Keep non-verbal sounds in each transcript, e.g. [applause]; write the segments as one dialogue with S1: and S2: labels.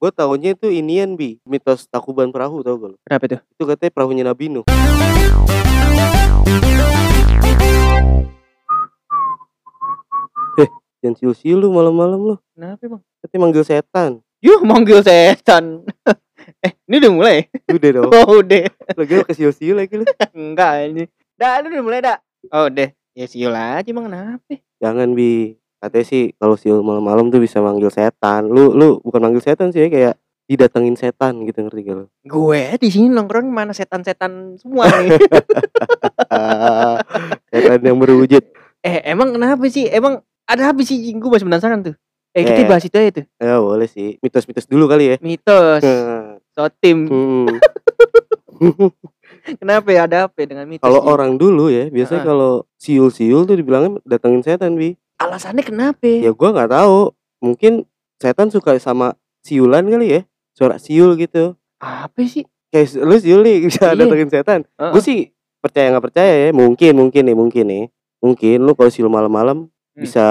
S1: Gue taunya itu inian Bi, mitos takuban perahu tau gak lu?
S2: Kenapa tuh?
S1: Itu katanya perahunya Nabi Nuh. Heh, Eh, jangan siul-siul lu malam-malam lu.
S2: Kenapa bang?
S1: Katanya manggil setan.
S2: Yuh manggil setan. [laughs] eh ini udah mulai?
S1: Udah dong.
S2: [laughs] Oh udah.
S1: Lagi lu kesiul-siul lagi lu.
S2: Enggak ini. Dah lu udah mulai dah. Oh udah. Ya siul aja bang kenapa?
S1: Jangan Bi. Katanya sih kalau siul malam-malam tuh bisa manggil setan. Lu lu bukan manggil setan sih ya kayak didatengin setan gitu ngerti gak lu?
S2: Gue di sini nongkrong mana setan-setan semua [laughs] nih.
S1: Ah, setan yang berwujud.
S2: eh emang kenapa sih? Emang ada apa sih? Gue masih penasaran tuh. Eh kita
S1: Eh.
S2: bahas itu aja tuh.
S1: Ya boleh sih. Mitos-mitos dulu kali ya. Nah,
S2: Mitos. Sotim.
S1: Hmm.
S2: Kenapa ya? Ada apa ya dengan mitos?
S1: Kalau
S2: ini?
S1: orang dulu ya, biasanya
S2: Heeh.
S1: kalau siul-siul tuh dibilangnya datengin setan, Bi.
S2: Alasannya kenapa?
S1: Ya gua nggak tahu. Mungkin setan suka sama siulan kali ya. Suara siul gitu.
S2: Apa sih?
S1: Kayak lu siul nih bisa
S2: Iya.
S1: datengin setan.
S2: Heeh.
S1: Gue sih percaya nggak percaya ya, mungkin mungkin nih, mungkin nih. Mungkin lu kalau siul malam-malam
S2: Hmm.
S1: bisa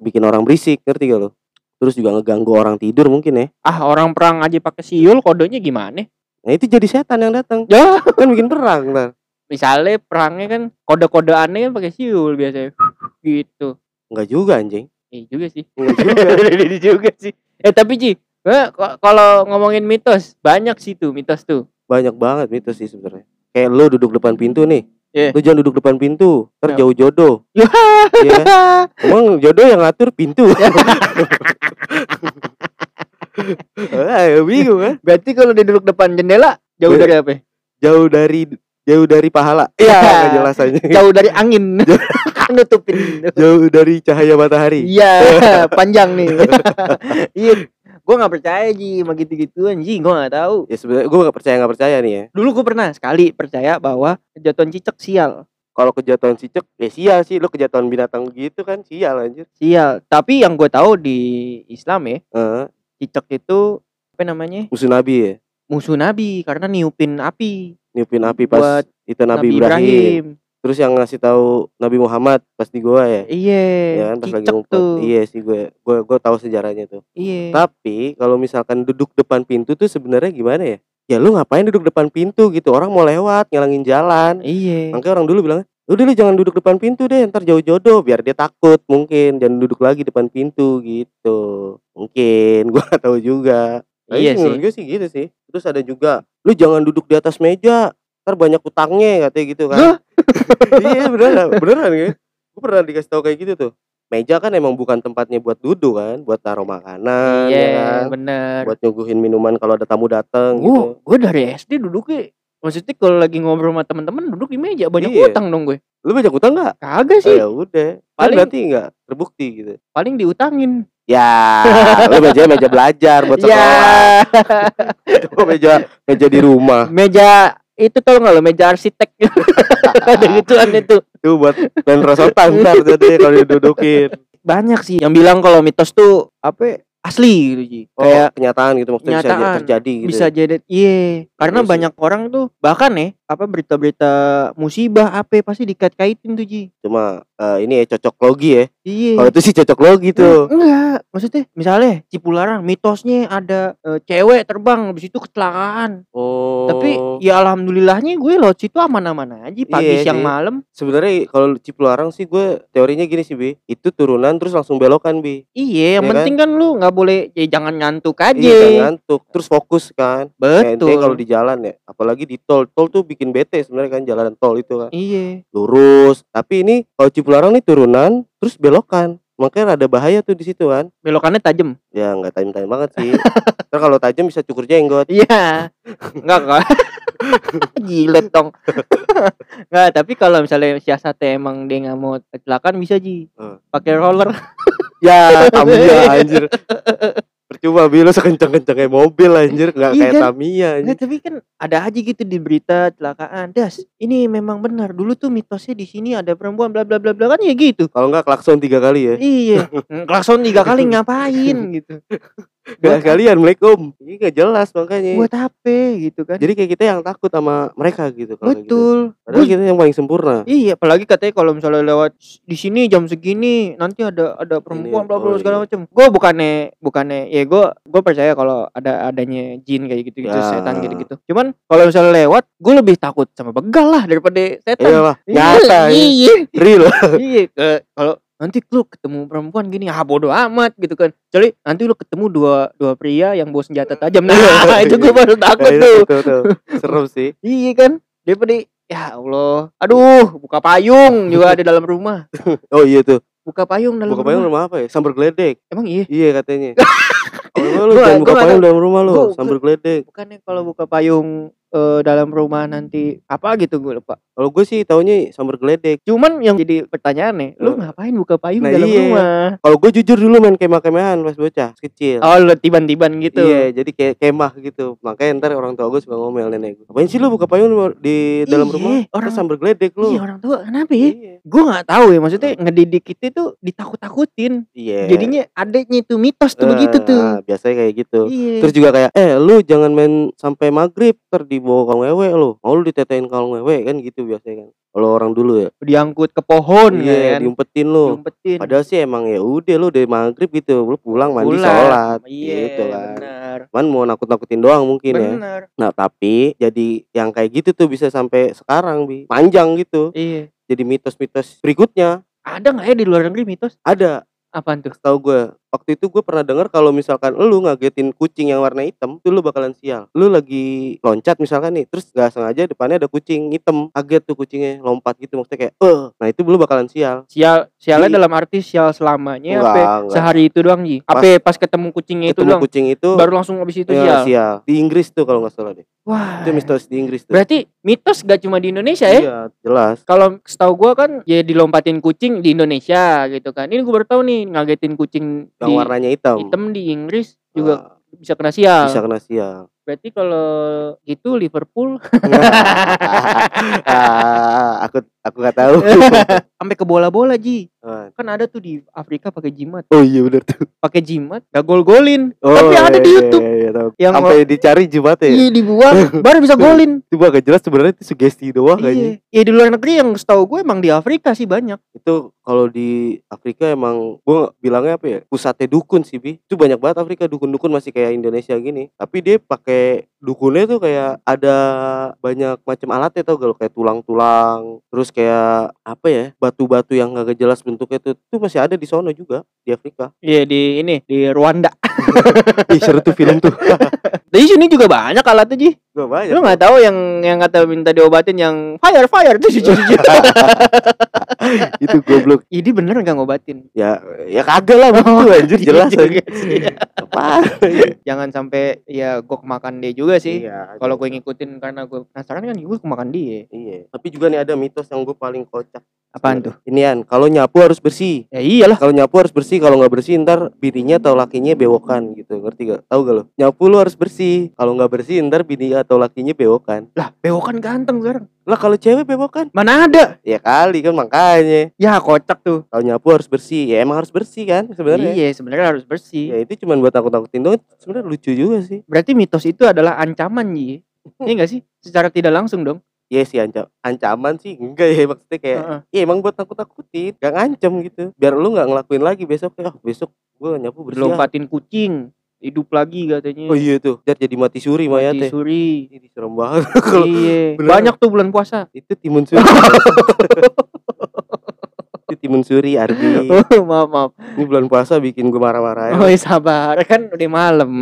S1: bikin orang berisik, ngerti gak lu? Terus juga ngeganggu orang tidur mungkin ya.
S2: Ah orang perang aja pakai siul kodenya gimana?
S1: Nah itu jadi setan yang datang.
S2: Ya.
S1: Kan bikin perang ntar.
S2: Misalnya perangnya kan kode-kodeannya kan pakai siul biasanya. Gitu.
S1: Enggak juga anjing.
S2: Iya juga sih.
S1: Enggak juga.
S2: [laughs] Iya juga sih. Eh tapi Ji, eh, ko- kalau ngomongin mitos, banyak sih tuh mitos tuh.
S1: banyak banget mitos sih sebenarnya. Kayak lu duduk depan pintu nih.
S2: Iya.
S1: Lu jangan duduk depan pintu, ntar
S2: Kenapa?
S1: jauh jodoh.
S2: Ya.
S1: [laughs] Iya. Emang jodoh yang ngatur [laughs] pintu. Wah, ya bingung kan?
S2: [laughs] Berarti kalau dia duduk depan jendela jauh
S1: Iya.
S2: dari apa?
S1: Jauh dari jauh dari pahala. Iya, [laughs] nggak jelas aja.
S2: [laughs] Jauh dari angin. Kan [laughs] Nutupin.
S1: Jauh dari cahaya matahari.
S2: [laughs] Iya, panjang nih. Iya. Gua nggak percaya Ji sama gitu-gituan Ji, gua nggak tahu.
S1: Ya sebenarnya gue gak percaya nggak percaya nih ya.
S2: Dulu gue pernah sekali percaya bahwa kejatuhan cicak sial.
S1: Kalau kejatuhan si Cek, ya sial sih. Lu kejatuhan binatang gitu kan sial anjir.
S2: Sial. Tapi yang gue tahu di Islam ya,
S1: Heeh,
S2: cicak itu apa namanya?
S1: Eh, musuh Nabi ya.
S2: Musuh Nabi karena niupin api
S1: Niupin api pas
S2: Buat
S1: itu Nabi, Ibrahim. Terus yang ngasih tahu Nabi Muhammad pas di goa ya.
S2: Iya,
S1: ya kan pas lagi
S2: cicak
S1: ngumpet
S2: tuh. Iya.
S1: iya sih gue gue gue tahu sejarahnya tuh tapi kalau misalkan duduk depan pintu tuh sebenarnya gimana ya ya lu ngapain duduk depan pintu gitu orang mau lewat ngalangin jalan
S2: Iya.
S1: makanya orang dulu bilang udah lu jangan duduk depan pintu deh ntar jauh jodoh biar dia takut mungkin jangan duduk lagi depan pintu gitu mungkin [laughs] gue gak tahu juga Tapi
S2: Iya
S1: menurut gue sih gitu sih terus ada juga lu jangan duduk di atas meja ntar banyak utangnya katanya gitu kan
S2: Loh?
S1: [laughs] iya beneran beneran ya gue pernah dikasih tahu kayak gitu tuh meja kan emang bukan tempatnya buat duduk kan buat taruh makanan ya
S2: Iya,
S1: kan?
S2: bener.
S1: buat nyuguhin minuman kalau ada tamu datang
S2: Gue
S1: gitu
S2: gue dari SD duduknya maksudnya kalau lagi ngobrol sama teman-teman duduk di meja banyak
S1: Iya.
S2: utang dong gue.
S1: lu banyak utang nggak
S2: Kagak
S1: oh,
S2: sih,
S1: ya udah Kan
S2: Paling-
S1: berarti nggak terbukti gitu
S2: paling diutangin. [laughs]
S1: Ya, lu meja meja belajar buat sekolah.
S2: Ya,
S1: Lu meja meja di rumah.
S2: meja itu tau nggak lo meja arsitek [laughs] ada gituan itu
S1: Itu buat main rosotan ntar jadi kalau didudukin.
S2: banyak sih yang bilang kalau mitos tuh apa ya, asli gitu Ji.
S1: Oh,
S2: kayak
S1: kenyataan gitu maksudnya bisa
S2: kenyataan.
S1: jadi- terjadi gitu.
S2: bisa jadi iya karena
S1: Iya sih.
S2: banyak orang tuh bahkan nih apa berita-berita musibah apa pasti dikait-kaitin tuh Ji
S1: Cuma eh, ini ya cocok logi ya. Kalau
S2: iya Nah,
S1: itu sih cocok logi tuh.
S2: enggak maksudnya misalnya Cipularang mitosnya ada eh, cewek terbang habis itu kecelakaan
S1: Oh.
S2: tapi ya alhamdulillahnya gue lewat situ aman-aman aja pagi
S1: Iya
S2: siang
S1: sih.
S2: malam
S1: sebenarnya kalau Cipularang sih gue teorinya gini sih, Bi. Itu turunan terus langsung belokan, Bi.
S2: iya
S1: Iya
S2: yang
S1: kan?
S2: penting kan lu nggak boleh ya jangan ngantuk aja
S1: Iya, ngantuk, terus fokus kan. Kayak ente
S2: betul
S1: kalau di jalan ya, apalagi di tol. Tol tuh bikin bete sebenarnya kan jalanan tol itu kan.
S2: iya
S1: lurus. Tapi ini kalau Cipularang nih turunan, terus belokan. Makanya ada bahaya tuh di situ kan.
S2: belokannya tajam
S1: Ya nggak tajam-tajam banget
S2: [laughs]
S1: sih. Ntar kalau tajam bisa cukur jenggot.
S2: Iya. Enggak kok. [laughs] Jilet dong. [laughs] Enggak, tapi kalau misalnya siasatnya emang dia nggak mau kecelakaan bisa Ji.
S1: Hmm.
S2: Pakai
S1: [laughs]
S2: roller.
S1: Ya [laughs] Tamiya anjir. Percuma Bi, lu sekencang-kencangnya mobil anjir. Nggak
S2: Iya
S1: kayak
S2: kan?
S1: Tamiya anjir.
S2: Enggak, tapi kan ada aja gitu di berita kecelakaan. Das, ini memang benar. Dulu tuh mitosnya di sini ada perempuan bla bla bla bla kan ya gitu.
S1: Kalau nggak [laughs] klakson tiga kali ya.
S2: [laughs] Iya. Klakson tiga kali ngapain gitu.
S1: Gak sekalian, Assalamualaikum. Ini gak jelas makanya.
S2: buat HP gitu kan
S1: Jadi kayak kita yang takut sama mereka gitu kalau gitu.
S2: betul
S1: Padahal
S2: Gua-
S1: kita yang paling sempurna.
S2: iya apalagi katanya kalau misalnya lewat di sini jam segini nanti ada ada perempuan
S1: Ini,
S2: bla bla
S1: oh
S2: segala
S1: iya.
S2: macam gue bukannya bukannya ya gue gue percaya kalau ada adanya jin kayak gitu gitu
S1: Ya.
S2: setan gitu gitu cuman kalau misalnya lewat gue lebih takut sama begal lah daripada setan
S1: Iyalah,
S2: Iya,
S1: nyata ya.
S2: iya
S1: [laughs]
S2: [laughs]
S1: real.
S2: iya ke- kalau nanti lu ketemu perempuan gini ah bodo amat gitu kan jadi nanti lu ketemu dua dua pria yang bawa senjata
S1: [laughs]
S2: tajam nah itu gue baru takut
S1: Nah,
S2: tuh
S1: itu- itu- itu. Serem sih.
S2: iya kan daripada ya Allah aduh buka payung juga ada dalam rumah
S1: Oh iya tuh.
S2: buka payung dalam
S1: Buka payung rumah
S2: rumah.
S1: apa ya? Sambar geledek.
S2: emang iya
S1: Iya
S2: [laughs]
S1: katanya. Oh, lu
S2: Gua-
S1: jangan
S2: gua
S1: buka
S2: nggak
S1: payung dalam rumah lu,
S2: gua-
S1: sambar geledek.
S2: bukannya kalau buka payung eh, dalam rumah nanti apa gitu gue lupa
S1: Kalau gue sih taunya sambar geledek.
S2: cuman yang jadi pertanyaan nih lu
S1: Eh.
S2: ngapain buka payung
S1: Nah,
S2: dalam
S1: iya.
S2: rumah
S1: Kalau gue jujur dulu main kemah-kemahan pas bocah kecil.
S2: oh lu tiban-tiban gitu
S1: Iya, jadi kayak kemah gitu. Makanya ntar orang tua gue suka ngomel nenek gue. Apain sih lu buka payung di- di dalam
S2: Iya,
S1: rumah?
S2: orang-
S1: Orang sambar geledek
S2: Iya,
S1: lu.
S2: orang tua kenapa ya
S1: Iya.
S2: gue nggak tahu ya maksudnya ngedidik kita tuh ditakut-takutin
S1: Iya.
S2: jadinya adeknya itu mitos tuh
S1: Eh,
S2: begitu tuh
S1: ah, biasanya kayak gitu.
S2: iya
S1: Terus juga kayak eh lu jangan main sampai maghrib ter dibawa kalung ewe lu. Mau lu ditetein kalung ewe kan gitu biasanya kan. Kalau orang dulu ya.
S2: diangkut ke pohon
S1: Iya,
S2: kan
S1: diumpetin lu.
S2: diumpetin
S1: Padahal sih emang ya udah lu dari maghrib gitu, lu pulang mandi
S2: Pulang.
S1: sholat
S2: iya
S1: gitu kan.
S2: benar
S1: Cuman mau nakut-nakutin doang mungkin ya.
S2: benar
S1: Nah tapi jadi yang kayak gitu tuh bisa sampai sekarang bi panjang gitu.
S2: iya
S1: Jadi mitos-mitos berikutnya
S2: ada nggak ya di luar negeri mitos
S1: ada.
S2: apaan tuh
S1: Tahu gue waktu itu gue pernah dengar kalau misalkan lu ngagetin kucing yang warna hitam, itu lu bakalan sial. Lu lagi loncat misalkan nih, terus gak sengaja depannya ada kucing hitam, kaget tuh kucingnya lompat gitu maksudnya kayak eh, nah itu lu bakalan sial.
S2: sial sialnya
S1: Di-
S2: dalam arti sial selamanya
S1: Enggak,
S2: apa ya?
S1: enggak.
S2: sehari itu doang ji
S1: Pas-
S2: apa ya? pas ketemu kucingnya itu
S1: Ketemu
S2: doang
S1: kucing itu
S2: baru langsung habis itu
S1: ya,
S2: sial
S1: sial. Di Inggris tuh kalau nggak salah deh.
S2: wah
S1: Itu mitos di Inggris tuh.
S2: berarti mitos gak cuma di Indonesia ya
S1: Iya, jelas.
S2: kalau setahu gua kan ya dilompatin kucing di Indonesia gitu kan ini gue baru tahu nih ngagetin kucing
S1: Yang
S2: di
S1: warnanya hitam.
S2: hitam di Inggris juga
S1: Ah,
S2: bisa kena sial
S1: bisa kena
S2: [laughs]
S1: sial. [laughs]
S2: berarti kalau gitu Liverpool
S1: Ah, aku aku nggak
S2: [laughs]
S1: tahu.
S2: sampai ke bola-bola ji
S1: Ah,
S2: kan ada tuh di Afrika pakai jimat
S1: Oh iya benar tuh.
S2: pakai jimat gak gol-golin
S1: Oh,
S2: Tapi ada di
S1: iya,
S2: YouTube.
S1: iya, iya, tahu.
S2: yang
S1: Sampai dicari jumatnya. ya?
S2: iya
S1: [laughs]
S2: dibuang baru bisa golin
S1: Itu gak jelas sebenarnya itu sugesti doang kayaknya.
S2: iya ya di luar negeri yang setahu gue emang di Afrika sih banyak
S1: Itu kalau di Afrika emang gua bilangnya apa ya? Pusatnya dukun sih, Bi. Itu banyak banget Afrika dukun-dukun masih kayak Indonesia gini. Tapi dia pakai dukunnya tuh kayak ada banyak macam alatnya tau gak lo kayak tulang-tulang, terus kayak apa ya? Batu-batu yang gak jelas bentuknya tuh itu masih ada di sono juga di Afrika. [laughs]
S2: iya di ini di Rwanda
S1: Ih, seru tuh film [laughs] tuh.
S2: di sini juga banyak alatnya ji
S1: Gak banyak.
S2: lu nggak tahu yang yang kata minta diobatin yang fire fire tuh [laughs] cuci-cuci
S1: itu goblok
S2: jadi Iya, bener nggak [laughs] ngobatin
S1: ya ya kagak lah begitu anjir jelas
S2: Iya juga
S1: lagi
S2: sih.
S1: apa
S2: jangan sampai ya gue kemakan dia juga sih
S1: iya
S2: kalau gue ngikutin karena gue penasaran kan gue kemakan dia
S1: iya tapi juga nih ada mitos yang gue paling kocak
S2: apaan tuh
S1: Iya. inian kalau nyapu harus bersih
S2: ya iyalah
S1: kalau nyapu harus bersih kalau nggak bersih ntar bininya atau lakinya bewokan gitu ngerti gak tahu gak lo nyapu lu harus bersih kalau nggak bersih ntar bini atau lakinya bewokan
S2: lah bewokan ganteng sekarang
S1: lah kalau cewek bewokan
S2: mana ada
S1: ya kali kan makanya
S2: ya kocak tuh
S1: kalau nyapu harus bersih ya emang harus bersih kan sebenarnya
S2: iya sebenarnya harus bersih
S1: ya itu cuma buat takut takutin doang sebenarnya lucu juga sih
S2: berarti mitos itu adalah ancaman ji [laughs] Iya gak sih secara tidak langsung dong
S1: Iya sih anca- ancaman sih enggak ya maksudnya kayak
S2: Heeh.
S1: Iya emang buat takut-takutin Gak ngancem gitu Biar lu gak ngelakuin lagi besok kayak, "Ah, besok gue nyapu bersih ah."
S2: lompatin kucing hidup lagi katanya
S1: Oh iya tuh Biar jadi mati suri
S2: Mati
S1: mayatnya
S2: suri [laughs]
S1: Ini serem banget Kalau-
S2: iya
S1: beneran.
S2: banyak tuh bulan puasa
S1: [laughs] Itu timun suri Itu timun suri Ardi
S2: Iya. [laughs] Oh, maaf maaf
S1: Ini bulan puasa bikin gue marah-marah ya.
S2: oh iya, sabar kan udah malam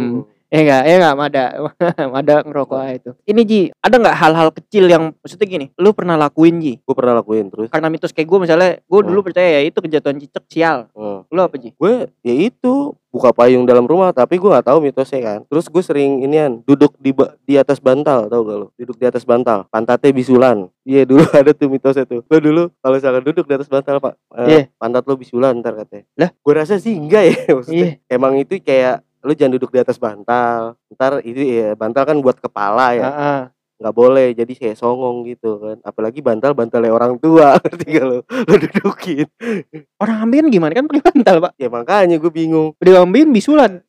S2: Ya enggak, ya enggak, Mada. [laughs] Mada ngerokok aja itu. Ini Ji, ada enggak hal-hal kecil yang maksudnya gini, lu pernah lakuin Ji?
S1: Gue pernah lakuin terus
S2: Karena mitos kayak gue misalnya, gue dulu percaya ya itu kejatuhan cicak sial.
S1: Heeh.
S2: Lu apa Ji?
S1: Gue ya itu Buka payung dalam rumah Tapi gue gak tahu mitosnya kan Terus gue sering inian Duduk di ba- di atas bantal tau gak lo Duduk di atas bantal Pantatnya bisulan Iya dulu [laughs] ada tuh mitosnya tuh Lo dulu kalau misalkan duduk di atas bantal pak eh,
S2: Iya.
S1: pantat lo bisulan ntar katanya
S2: Lah? Iya.
S1: gue rasa sih enggak ya [laughs] maksudnya emang itu kayak lu jangan duduk di atas bantal ntar itu ya bantal kan buat
S2: Ah,
S1: kepala ya
S2: Heeh.
S1: nggak boleh jadi kayak songong gitu kan apalagi bantal bantalnya orang tua [laughs] ngerti gak lu lu dudukin
S2: Orang ambeien gimana kan pakai bantal, Pak?
S1: ya makanya gue bingung
S2: [laughs] Udah ambeien bisulan.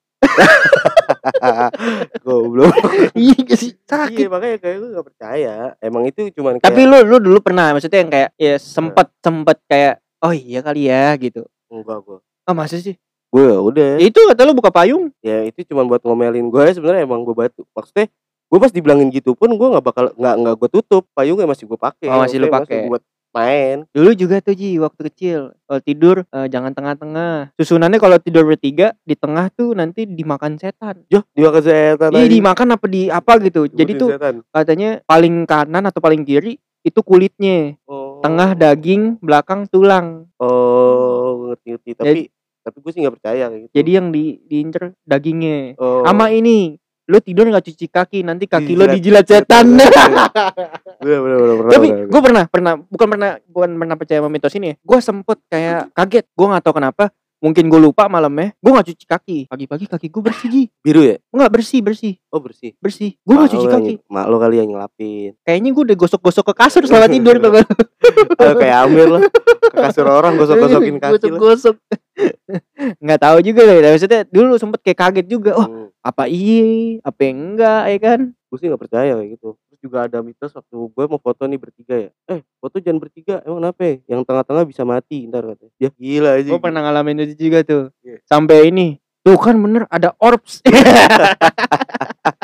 S1: Goblok.
S2: Iya gak sih
S1: Iya
S2: sakit.
S1: makanya kayak gue gak percaya. Emang itu cuman kayak
S2: Tapi lu lu dulu pernah maksudnya yang kayak ya sempet sempet kayak oh iya kali ya gitu.
S1: enggak gue.
S2: Ah masa sih?
S1: Gue udah.
S2: Ya Itu kata lu buka payung.
S1: Ya itu cuman buat ngomelin gue aja sebenarnya emang gue batu. Maksudnya gue pas dibilangin gitu pun gue nggak bakal nggak nggak gue tutup payungnya masih gue pakai.
S2: Oh, masih lu
S1: Maksudnya
S2: pakai.
S1: buat main.
S2: Dulu juga tuh Ji waktu kecil kalau tidur eh, jangan tengah-tengah. Susunannya kalau tidur bertiga di tengah tuh nanti dimakan setan.
S1: Yo, dimakan setan.
S2: Iya
S1: anjing.
S2: dimakan apa di apa gitu. Jadi
S1: Dimakan
S2: tuh
S1: setan.
S2: katanya paling kanan atau paling kiri itu kulitnya,
S1: Oh.
S2: tengah daging, belakang tulang.
S1: Oh, ngerti-ngerti. Tapi tapi gue sih nggak percaya kayak gitu.
S2: Jadi yang di diincer dagingnya.
S1: oh.
S2: Sama ini, lu tidur nggak cuci kaki, nanti kaki lu dijilat
S1: Dijilat
S2: setan.
S1: Bener, bener, bener, bener,
S2: Tapi
S1: bener, bener.
S2: gue pernah, pernah, bukan pernah, bukan pernah percaya sama mitos ini. ya. Gue sempet kayak kaget, gue nggak tahu kenapa. Mungkin gue lupa malamnya, gue nggak cuci kaki. Pagi-pagi kaki gue bersih, Ji.
S1: biru ya?
S2: nggak bersih, bersih,
S1: Oh bersih.
S2: bersih. Gue nggak
S1: Mak
S2: cuci
S1: lu yang-
S2: kaki.
S1: Mak lo kali yang
S2: [laughs]
S1: ngelapin.
S2: Kayaknya gue udah gosok-gosok ke kasur selama tidur tuh.
S1: Ah, kayak Amir lah. Ke kasur orang gosok-gosokin kaki lo.
S2: Gosok-gosok. [laughs] Nggak tahu juga lah. ya. Maksudnya dulu sempet kayak kaget juga. Oh,
S1: Hmm.
S2: apa iya, apa yang enggak, ya kan?
S1: Gue sih gak percaya kayak gitu. Terus juga ada mitos waktu gue mau foto nih bertiga ya. Eh foto jangan bertiga. Emang kenapa ya? Yang tengah-tengah bisa mati ntar katanya. Ya gila aja.
S2: Gue pernah ngalamin itu juga tuh.
S1: Iya.
S2: Sampai ini. Tuh kan bener ada orbs. [laughs]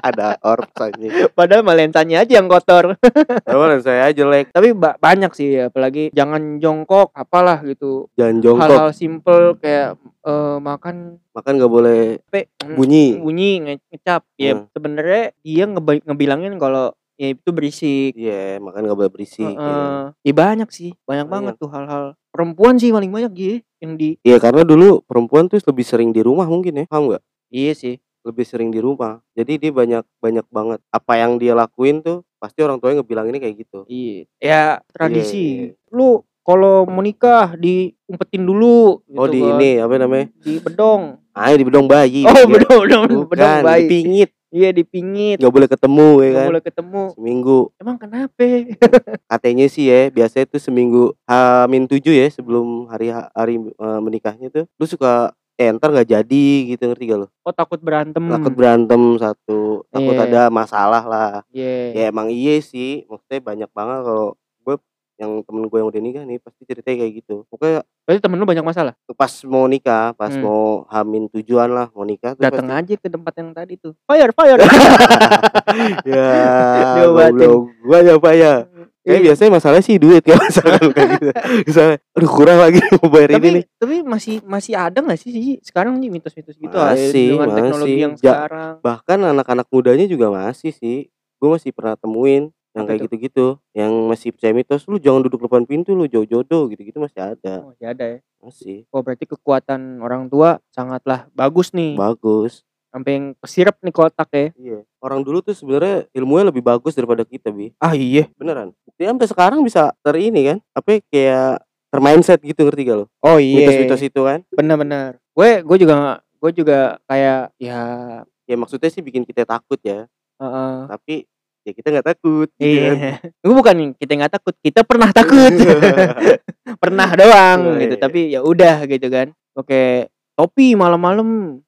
S1: ada orbs aja.
S2: Padahal malah lensanya aja yang kotor.
S1: Emang saya jelek.
S2: Tapi ba- banyak sih apalagi jangan jongkok apalah gitu.
S1: Jangan jongkok.
S2: Hal-hal simple kayak eh, makan
S1: Makan gak boleh
S2: pe
S1: bunyi.
S2: bunyi nge- ngecap. Ya
S1: Hmm.
S2: sebenarnya dia ngeba- ngebilangin kalau ya itu berisik.
S1: Iya makan gak boleh berisik.
S2: Heeh.
S1: gitu.
S2: Ya banyak sih, banyak, banget tuh hal-hal perempuan sih paling banyak gitu yang di
S1: Iya karena dulu perempuan tuh lebih sering di rumah mungkin ya, paham nggak?
S2: Iya sih.
S1: Lebih sering di rumah. Jadi dia banyak banyak banget. Apa yang dia lakuin tuh pasti orang tuanya ngebilanginnya kayak gitu.
S2: Iya. Ya
S1: Iya,
S2: tradisi. Lu kalau mau nikah diumpetin dulu
S1: oh di
S2: kan.
S1: ini apa namanya?
S2: di bedong.
S1: Ah di bedong bayi.
S2: Oh,
S1: Iya.
S2: bedong, bedong, bedong
S1: Bukan,
S2: bayi.
S1: dipingit.
S2: Iya, dipingit.
S1: Gak boleh ketemu ya
S2: Nggak
S1: kan.
S2: boleh ketemu.
S1: Seminggu.
S2: Emang kenapa? [laughs]
S1: Katanya sih ya, biasanya tuh seminggu Hamin 7 ya sebelum hari hari eh, menikahnya tuh lu suka eh ntar nggak jadi gitu ngerti gak lo?
S2: Oh takut berantem.
S1: Takut berantem satu, takut
S2: Iya.
S1: ada masalah lah.
S2: Iya.
S1: ya emang iya sih maksudnya banyak banget kalau gue yang temen gue yang udah nikah nih pasti ceritanya kayak gitu pokoknya
S2: Berarti temen lu banyak masalah.
S1: pas mau nikah pas
S2: Hmm.
S1: mau hamin tujuan lah mau nikah tuh
S2: Datang
S1: pasti, Iya,
S2: aja ke tempat yang tadi tuh. Fire, fire.
S1: [laughs]
S2: [laughs]
S1: ya
S2: Diobatin.
S1: goblok gue apa ya kayak
S2: Iya.
S1: biasanya masalahnya sih duit ya masalah kalau kayak [laughs]
S2: [laughs]
S1: gitu misalnya aduh kurang lagi [laughs] mau bayar
S2: tapi
S1: ini nih
S2: tapi masih masih ada nggak sih Ji? sekarang nih mitos-mitos gitu
S1: Masih,
S2: dengan
S1: masih.
S2: teknologi yang
S1: Ja-
S2: sekarang.
S1: bahkan anak-anak mudanya juga masih sih gue masih pernah temuin yang
S2: Apa
S1: kayak
S2: tuh?
S1: gitu-gitu yang masih percaya mitos lu jangan duduk depan pintu lu jauh-jodoh gitu-gitu masih ada
S2: Masih ada ya.
S1: masih
S2: Oh berarti kekuatan orang tua sangatlah bagus nih.
S1: bagus
S2: Sampai yang kesirep nih kotak ya.
S1: Iya. Orang dulu tuh sebenarnya ilmunya lebih bagus daripada kita, Bi.
S2: Ah iya.
S1: Beneran. Buktinya sampai sekarang bisa ter ini kan. Apa kayak termindset gitu ngerti gak lo?
S2: Oh iya.
S1: Mitos-mitos itu kan.
S2: Benar-benar. Gue gue juga nggak- gue juga kayak ya
S1: Ya maksudnya sih bikin kita takut ya.
S2: heeh.
S1: Tapi ya kita nggak takut. gitu kan.
S2: [laughs] Iya. Gue bukan nih, kita nggak takut, kita pernah
S1: [laughs]
S2: takut. [laughs] pernah doang
S1: Iya,
S2: gitu,
S1: iya.
S2: tapi ya udah gitu kan. Pakai topi malam-malam.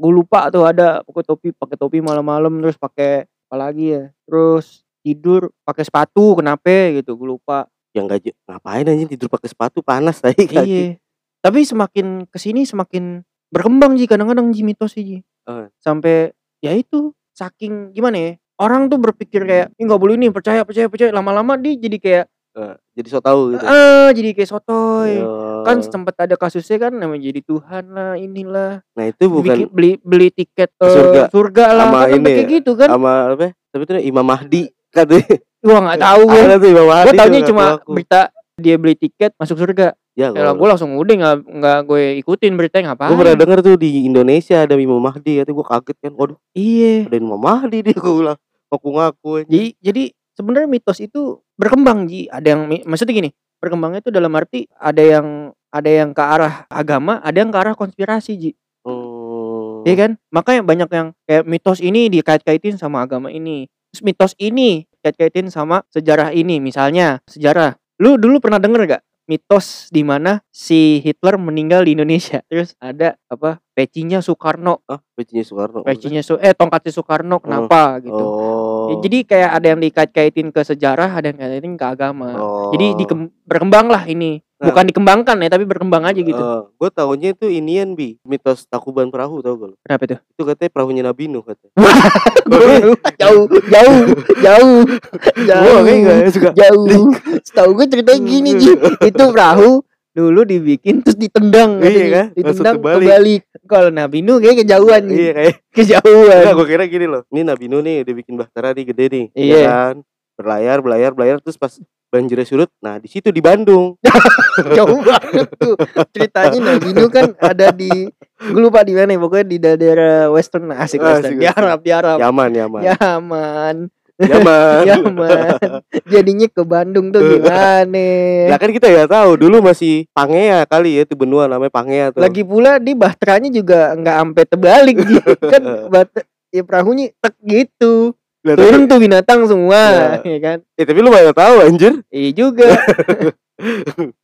S2: Gue lupa tuh ada pakai topi, pakai topi malam-malam terus pakai apa lagi ya? Terus tidur pakai sepatu kenapa gitu gue lupa
S1: Yang gak j- Ya ngapain aja tidur pakai sepatu panas tadi kaki.
S2: iya tapi semakin kesini semakin berkembang sih kadang-kadang Ji mitos sih Ji.
S1: Eh.
S2: sampai ya itu saking gimana ya orang tuh berpikir kayak ini nggak boleh ini percaya percaya percaya lama-lama dia jadi kayak
S1: Eh, jadi so tau gitu.
S2: eh jadi kayak sotoy
S1: Ya.
S2: kan sempat ada kasusnya kan namanya jadi Tuhan lah inilah
S1: nah itu
S2: Bikin-
S1: bukan
S2: beli beli tiket
S1: Ke
S2: eh,
S1: surga.
S2: lah
S1: Sama
S2: kan sampai
S1: ini
S2: kayak
S1: ya,
S2: gitu kan
S1: sama apa? Tapi itu Imam Mahdi katanya.
S2: Oh, gua nggak tahu gue
S1: Iya. Ada tuh Imam Mahdi.
S2: gue
S1: tuh
S2: tahunya
S1: ngaku-
S2: cuma
S1: ngaku.
S2: berita dia beli tiket masuk surga
S1: ya,
S2: ya lah
S1: gua-
S2: gue langsung udah nggak nggak gue ikutin beritanya ngapain
S1: Gue pernah denger tuh di Indonesia ada Imam Mahdi Katanya gue kaget kan Waduh
S2: iya
S1: ada Imam Mahdi dia gue bilang Aku ngaku anjing.
S2: Jadi jadi sebenarnya mitos itu berkembang Ji. Ada yang mi- maksudnya gini, berkembangnya itu dalam arti ada yang ada yang ke arah agama, ada yang ke arah konspirasi Ji.
S1: Hmm.
S2: Iya kan? Makanya banyak yang kayak mitos ini dikait-kaitin sama agama ini. Terus mitos ini dikait-kaitin sama sejarah ini. Misalnya sejarah. Lu dulu pernah denger gak mitos di mana si Hitler meninggal di Indonesia. [laughs] Terus ada apa? Pecinya Soekarno,
S1: ah pecinya Soekarno
S2: pecinya Su- eh tongkatnya Soekarno kenapa gitu.
S1: oh
S2: Ya, jadi kayak ada yang dikait-kaitin ke sejarah, ada yang kaitin ke agama.
S1: Oh.
S2: eh, Jadi dikem- berkembang lah ini.
S1: Nah. Oh.
S2: Bukan dikembangkan ya, tapi berkembang aja gitu.
S1: gue tahunya itu inian bi mitos takuban perahu tau gak lo?
S2: Kenapa itu?
S1: Itu katanya perahunya Nabi Nuh katanya.
S2: jauh, jauh, jauh,
S1: Gua
S2: jauh,
S1: kayaknya nggak suka.
S2: jauh. Setahu gue ceritanya gini Ji. Itu perahu dulu dibikin terus ditendang
S1: Iya
S2: katanya.
S1: kan? Langsung
S2: Ditendang
S1: terbalik.
S2: kebalik. Kalau Nabi Nuh kayak kejauhan Ji.
S1: Iya kayak. Enggak,
S2: Kejauhan.
S1: gue kira gini loh. Ini Nabi Nuh nih udah bikin bahtera nih gede nih. ya
S2: Kan. Iya.
S1: kan? Berlayar, berlayar, berlayar terus pas banjirnya surut. Nah, di situ di Bandung.
S2: Jauh banget tuh. Ceritanya Nabi Nuh kan ada di gue lupa di mana ya, pokoknya di daerah western nah, asik,
S1: Asik,
S2: western. Di
S1: asik.
S2: Arab, di Arab.
S1: Yaman, Yaman.
S2: Ya. Yaman. [laughs]
S1: Yaman.
S2: Ya. Yaman. Jadinya ke Bandung tuh gimana?
S1: Lah kan kita nggak tahu dulu masih Pangea kali ya itu benua namanya Pangea tuh.
S2: Lagi pula di bahteranya juga nggak ampe
S1: [laughs]
S2: terbalik gitu kan bahter, ya perahunya tek gitu.
S1: Lah, tapi-
S2: Turun tuh binatang semua,
S1: Ya.
S2: ya kan?
S1: eh, tapi lu banyak tahu anjir.
S2: Iya
S1: [laughs]
S2: juga.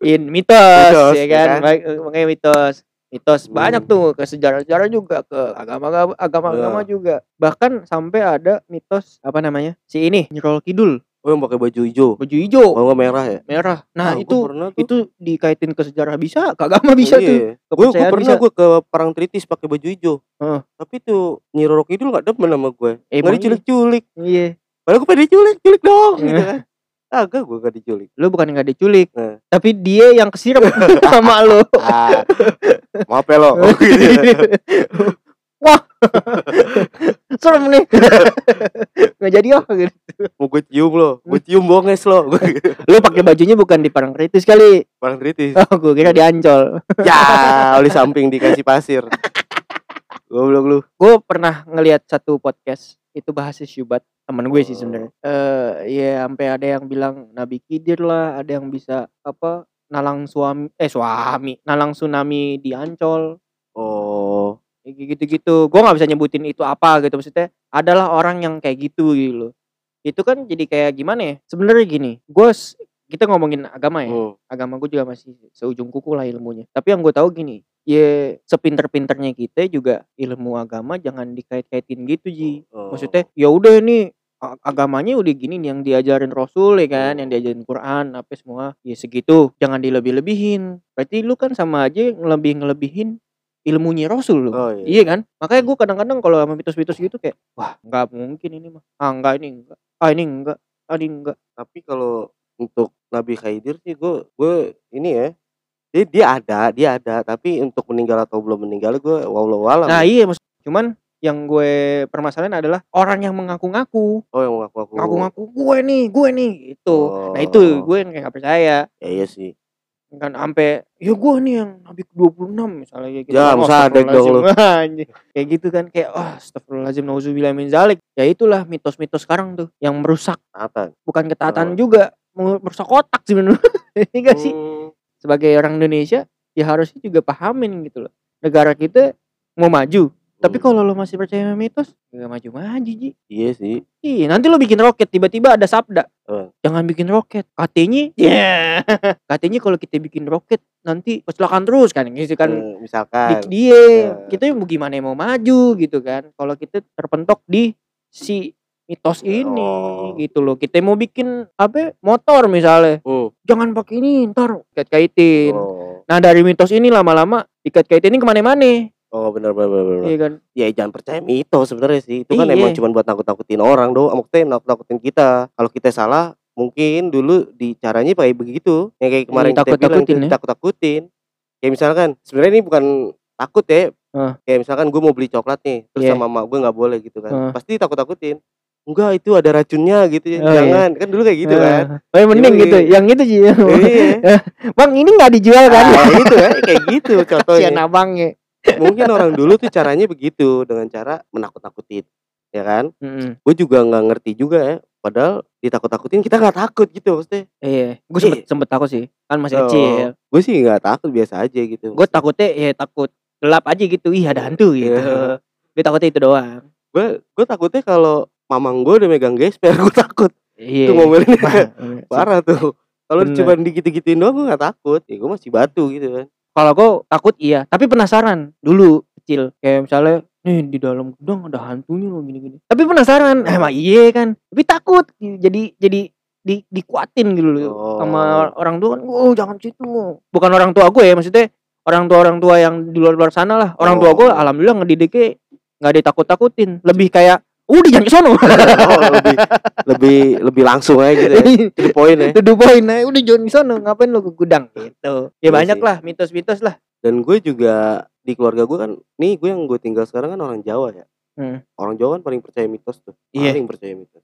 S2: In mitos,
S1: Mitos,
S2: ya
S1: ya
S2: kan?
S1: kan?
S2: Baik, eh, Makanya mitos. Mitos
S1: Hmm.
S2: banyak tuh ke sejarah-sejarah juga ke agama-agama agama-agama
S1: Iya.
S2: juga. Bahkan sampai ada mitos apa namanya? Si ini Nyirol Kidul,
S1: Oh, yang pakai baju hijau.
S2: baju hijau,
S1: Kalau nggak merah ya.
S2: merah.
S1: Ah,
S2: Nah,
S1: gua Oh,
S2: itu
S1: pernah tuh.
S2: itu dikaitin ke sejarah bisa, ke agama bisa
S1: iya,
S2: tuh.
S1: Gue
S2: Kepercayaan
S1: pernah
S2: bisa.
S1: gue ke perang tritis pakai baju hijau.
S2: Heeh.
S1: Tapi tuh Nyi Roro Kidul gak demen sama gue.
S2: Eh,
S1: Nggak
S2: emang iya.
S1: diculik-culik.
S2: Iya.
S1: Padahal gue pengen diculik, culik dong gitu
S2: Iya.
S1: kan. Agak gue gak diculik.
S2: lu bukan nggak diculik
S1: Nah.
S2: tapi dia yang kesirep [laughs] sama lu
S1: Ah, maaf ya lo.
S2: [laughs] wah [laughs] serem nih [laughs] nggak jadi oh gitu.
S1: Mau gue cium lo, gue cium bonges lo. Gua gitu.
S2: lu pakai bajunya bukan di parang kritis kali
S1: Perang tritis.
S2: oh gue kira di ancol
S1: Ya, oleh samping dikasih pasir. Goblok lu.
S2: gue pernah ngelihat satu podcast itu bahas syubat teman gue sih
S1: Oh.
S2: sebenarnya eh ya sampai ada yang bilang nabi kidir lah ada yang bisa apa nalang suami eh suami nalang tsunami di ancol
S1: Oh,
S2: Ya, kayak gitu-gitu gue nggak bisa nyebutin itu apa gitu maksudnya adalah orang yang kayak gitu gitu loh itu kan jadi kayak gimana ya sebenarnya gini gue kita ngomongin agama ya
S1: hmm.
S2: agama gue juga masih seujung kuku lah ilmunya tapi yang gue tahu gini ya sepinter-pinternya kita juga ilmu agama jangan dikait-kaitin gitu ji
S1: Oh.
S2: maksudnya ya udah ini a- agamanya udah gini nih yang diajarin Rasul ya kan,
S1: Hmm.
S2: yang diajarin Quran apa semua ya segitu jangan dilebih-lebihin. Berarti lu kan sama aja ngelebih ngelebihin ilmunya Rasul lu.
S1: Oh,
S2: Iya kan? Makanya gue kadang-kadang kalau sama mitos-mitos gitu kayak wah nggak mungkin ini mah. Ah nggak ini enggak. Ah ini enggak. Ah ini enggak.
S1: tapi kalau untuk Nabi Khidir sih gue gue ini ya dia, dia ada dia ada tapi untuk meninggal atau belum meninggal gue walau walau
S2: Nah iya maksud cuman yang gue permasalahan adalah orang yang mengaku-ngaku,
S1: oh yang ngaku ngaku
S2: ngaku-ngaku gue nih, gue nih gitu. Nah itu
S1: Oh.
S2: gue yang kayak nggak percaya.
S1: ya iya sih
S2: kan sampai ya gue nih yang nabi ke-26 misalnya kayak gitu.
S1: Ya,
S2: Oh,
S1: sadek dong lu.
S2: astagfirullahaladzim. [laughs] Anjing. kayak gitu kan kayak oh astagfirullahalazim nauzubillah min zalik. Ya itulah mitos-mitos sekarang tuh yang merusak
S1: apa
S2: bukan
S1: Oh.
S2: ketaatan juga mer- merusak otak sebenarnya. [laughs] Ini gak Iya sih
S1: Hmm.
S2: sebagai orang Indonesia ya harusnya juga pahamin gitu loh. Negara kita mau maju,
S1: Hmm.
S2: tapi kalau lo masih percaya sama mitos, gak maju-maju Ji.
S1: iya sih
S2: Iya, nanti lo bikin roket tiba-tiba ada sabda.
S1: Eh.
S2: Jangan bikin roket. Katanya, ya. [laughs] Katanya kalau kita bikin roket nanti kecelakaan terus kan gitu kan.
S1: Eh,
S2: Dik
S1: misalkan
S2: dia,
S1: Eh.
S2: kita mau gimana mau maju gitu kan. Kalau kita terpentok di si mitos ini
S1: Oh.
S2: gitu loh. Kita mau bikin apa? Motor misalnya.
S1: Hmm.
S2: Jangan pakai ini, ntar kait-kaitin.
S1: oh
S2: Nah, dari mitos ini lama-lama dikait-kaitin ini kemana mana
S1: oh benar benar benar, benar.
S2: Iya kan?
S1: ya jangan percaya mitos sebenarnya sih itu kan
S2: Iya.
S1: emang cuma buat nakut nakutin orang doang maksudnya nakut nakutin kita kalau kita salah mungkin dulu di caranya pakai begitu yang kayak kemarin kita bilang
S2: Ditakut-takutin ya.
S1: takut takutin kayak misalkan sebenarnya ini bukan takut ya
S2: Heeh.
S1: kayak misalkan gue mau beli coklat nih terus
S2: Iya.
S1: sama mak gue nggak boleh gitu kan
S2: Heeh.
S1: pasti takut takutin enggak itu ada racunnya gitu
S2: Oh, iya.
S1: jangan kan dulu kayak gitu kan
S2: Eh, oh, mending
S1: Yoi.
S2: gitu. Yang itu sih. [laughs]
S1: iya
S2: Bang, ini nggak dijual kan? ya.
S1: Nah, gitu kan kayak
S2: [laughs]
S1: gitu
S2: Iya,
S1: contohnya
S2: Kasihan abangnya.
S1: mungkin orang dulu tuh caranya begitu dengan cara menakut-nakutin ya kan gue juga nggak ngerti juga ya padahal ditakut-takutin kita nggak takut gitu maksudnya
S2: Iya, gue sempet, sempet takut sih, kan masih
S1: Oh.
S2: kecil.
S1: gue sih nggak takut biasa aja gitu
S2: Gue takutnya ya takut gelap aja gitu, ih ada hantu gitu.
S1: Iya.
S2: Gue takutnya itu doang.
S1: gue gue takutnya kalau mamang gue udah megang gesper gue takut
S2: Iya. [laughs]
S1: tuh mobilnya
S2: Parah.
S1: [laughs] parah tuh Kalau
S2: Bener.
S1: cuma digitu-gituin doang gue gak takut. Ya gue masih batu gitu kan.
S2: Kalau gue takut iya, tapi penasaran dulu kecil. Kayak misalnya nih di dalam gudang ada hantunya loh gini-gini. Tapi penasaran, emang iya kan. Tapi takut. Jadi jadi di, dikuatin gitu loh
S1: Oh.
S2: sama orang tua kan, oh jangan situ. Bukan orang tua gue ya, maksudnya orang tua orang tua yang di luar luar sana lah. Orang
S1: Oh.
S2: tua gue alhamdulillah ngedidiknya nggak ditakut takutin. Lebih kayak, udah jangan ke sono.
S1: Oh, lebih lebih lebih langsung aja gitu ya.
S2: [laughs]
S1: To the point ya.
S2: To the point, nah, udah jangan ke sono. Ngapain lo ke gudang gitu.
S1: Iya
S2: Ya banyak
S1: sih.
S2: lah mitos-mitos lah.
S1: Dan gue juga di keluarga gue kan, nih gue yang gue tinggal sekarang kan orang Jawa ya.
S2: Hmm.
S1: Orang Jawa kan paling percaya mitos tuh.
S2: Iya.
S1: Paling percaya mitos.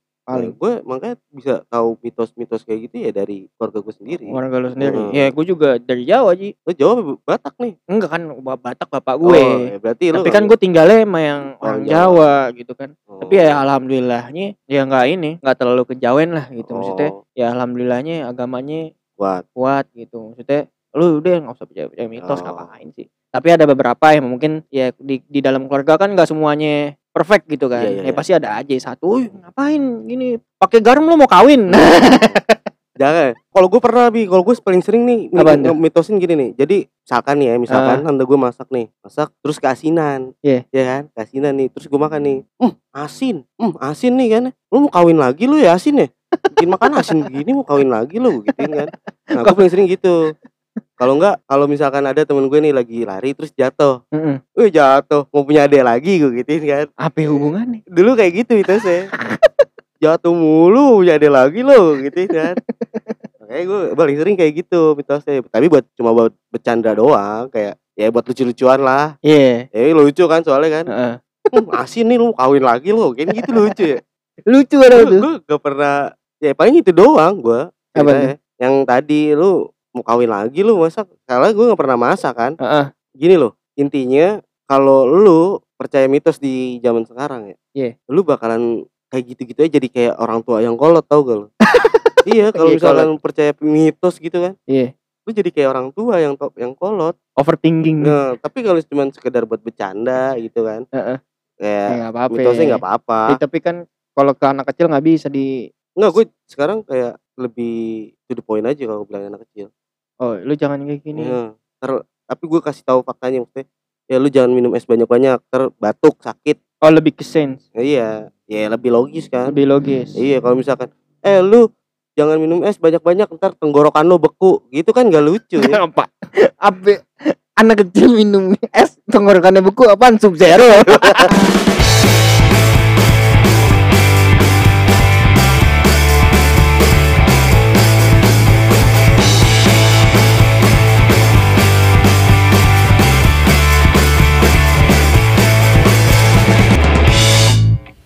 S1: Nah,
S2: Paling.
S1: gue makanya bisa tahu mitos-mitos kayak gitu ya dari keluarga gue sendiri.
S2: Warga lu
S1: Hmm.
S2: sendiri. Ya, gue juga dari Jawa sih.
S1: Lo Jawa apa Batak nih.
S2: Enggak kan ba- Batak bapak
S1: Oh,
S2: gue.
S1: ya berarti lo
S2: tapi kan gue tinggalnya sama yang orang
S1: Orang
S2: Jawa. gitu kan.
S1: Oh.
S2: Tapi ya alhamdulillahnya ya enggak ini, enggak terlalu kejawen lah gitu maksudnya.
S1: Oh,
S2: Ya alhamdulillahnya agamanya
S1: kuat.
S2: kuat gitu. Maksudnya lu udah nggak usah percaya, percaya mitos
S1: Oh.
S2: ngapain sih. Tapi ada beberapa yang mungkin ya di, di dalam keluarga kan nggak semuanya perfect gitu kan.
S1: Iya, iya,
S2: ya
S1: iya.
S2: pasti ada aja satu, "Uy, ngapain gini pakai garam lu mau kawin.
S1: [laughs] Jangan. Kalau gue pernah bi, kalau gue paling sering nih
S2: Apaan
S1: nge-
S2: tuh? Ah.
S1: mitosin gini nih. Jadi misalkan nih ya, misalkan tante gue masak nih, masak terus keasinan,
S2: Iya.
S1: ya kan? Keasinan nih, terus gue makan nih, hmm asin, hmm asin nih kan? Lu mau kawin lagi lu ya asin ya? Bikin makan asin begini mau kawin lagi lu gituin kan? Nah gue paling sering gitu. Kalau enggak, kalau misalkan ada temen gue nih lagi lari terus jatuh,
S2: [laughs] Heeh.
S1: eh jatuh, mau punya adik lagi gue gituin kan?
S2: Hmm. Apa hubungannya?
S1: dulu kayak gitu itu saya jatuh mulu ya ada lagi lo gitu kan makanya gue paling sering kayak gitu mitosnya tapi buat cuma buat bercanda doang kayak ya buat lucu-lucuan lah
S2: Iya.
S1: ya lucu kan soalnya
S2: [laughs]
S1: kan
S2: Heeh.
S1: "Hmm, asin nih lu kawin lagi lo kayak gitu lucu ya
S2: Lucu ada itu.
S1: gue gak pernah ya paling itu doang gue
S2: Apa
S1: ceritanya. yang tadi lu mau kawin lagi lu masak karena gue gak pernah masak kan
S2: Heeh.
S1: gini loh intinya kalau lu percaya mitos di zaman sekarang ya
S2: Iya.
S1: lu bakalan kayak gitu-gitu aja jadi kayak orang tua yang kolot tau
S2: [laughs]
S1: gak lu iya kalau
S2: Iya,
S1: misalkan percaya mitos gitu kan
S2: Iya.
S1: lu jadi kayak orang tua yang top yang kolot
S2: overthinking gitu.
S1: nah, tapi kalau cuma sekedar buat bercanda gitu kan
S2: Heeh. Ya,
S1: kayak
S2: nggak apa-apa.
S1: mitosnya nggak apa-apa
S2: Ya, tapi kan kalau ke anak kecil nggak bisa di
S1: nggak gue sekarang kayak lebih to the point aja kalau bilang anak kecil
S2: oh lu jangan kayak gini.
S1: Iya. Ntar, tapi gue kasih tahu faktanya maksudnya ya lu jangan minum es banyak-banyak ter batuk sakit
S2: Oh lebih ke sense,
S1: iya ya lebih logis kan
S2: lebih logis.
S1: Iya kalau misalkan Eh lu jangan minum es banyak-banyak ntar tenggorokan lu beku Gitu kan gak lucu ya
S2: Apa? Apa? Anak kecil minum es tenggorokannya beku apaan sub zero.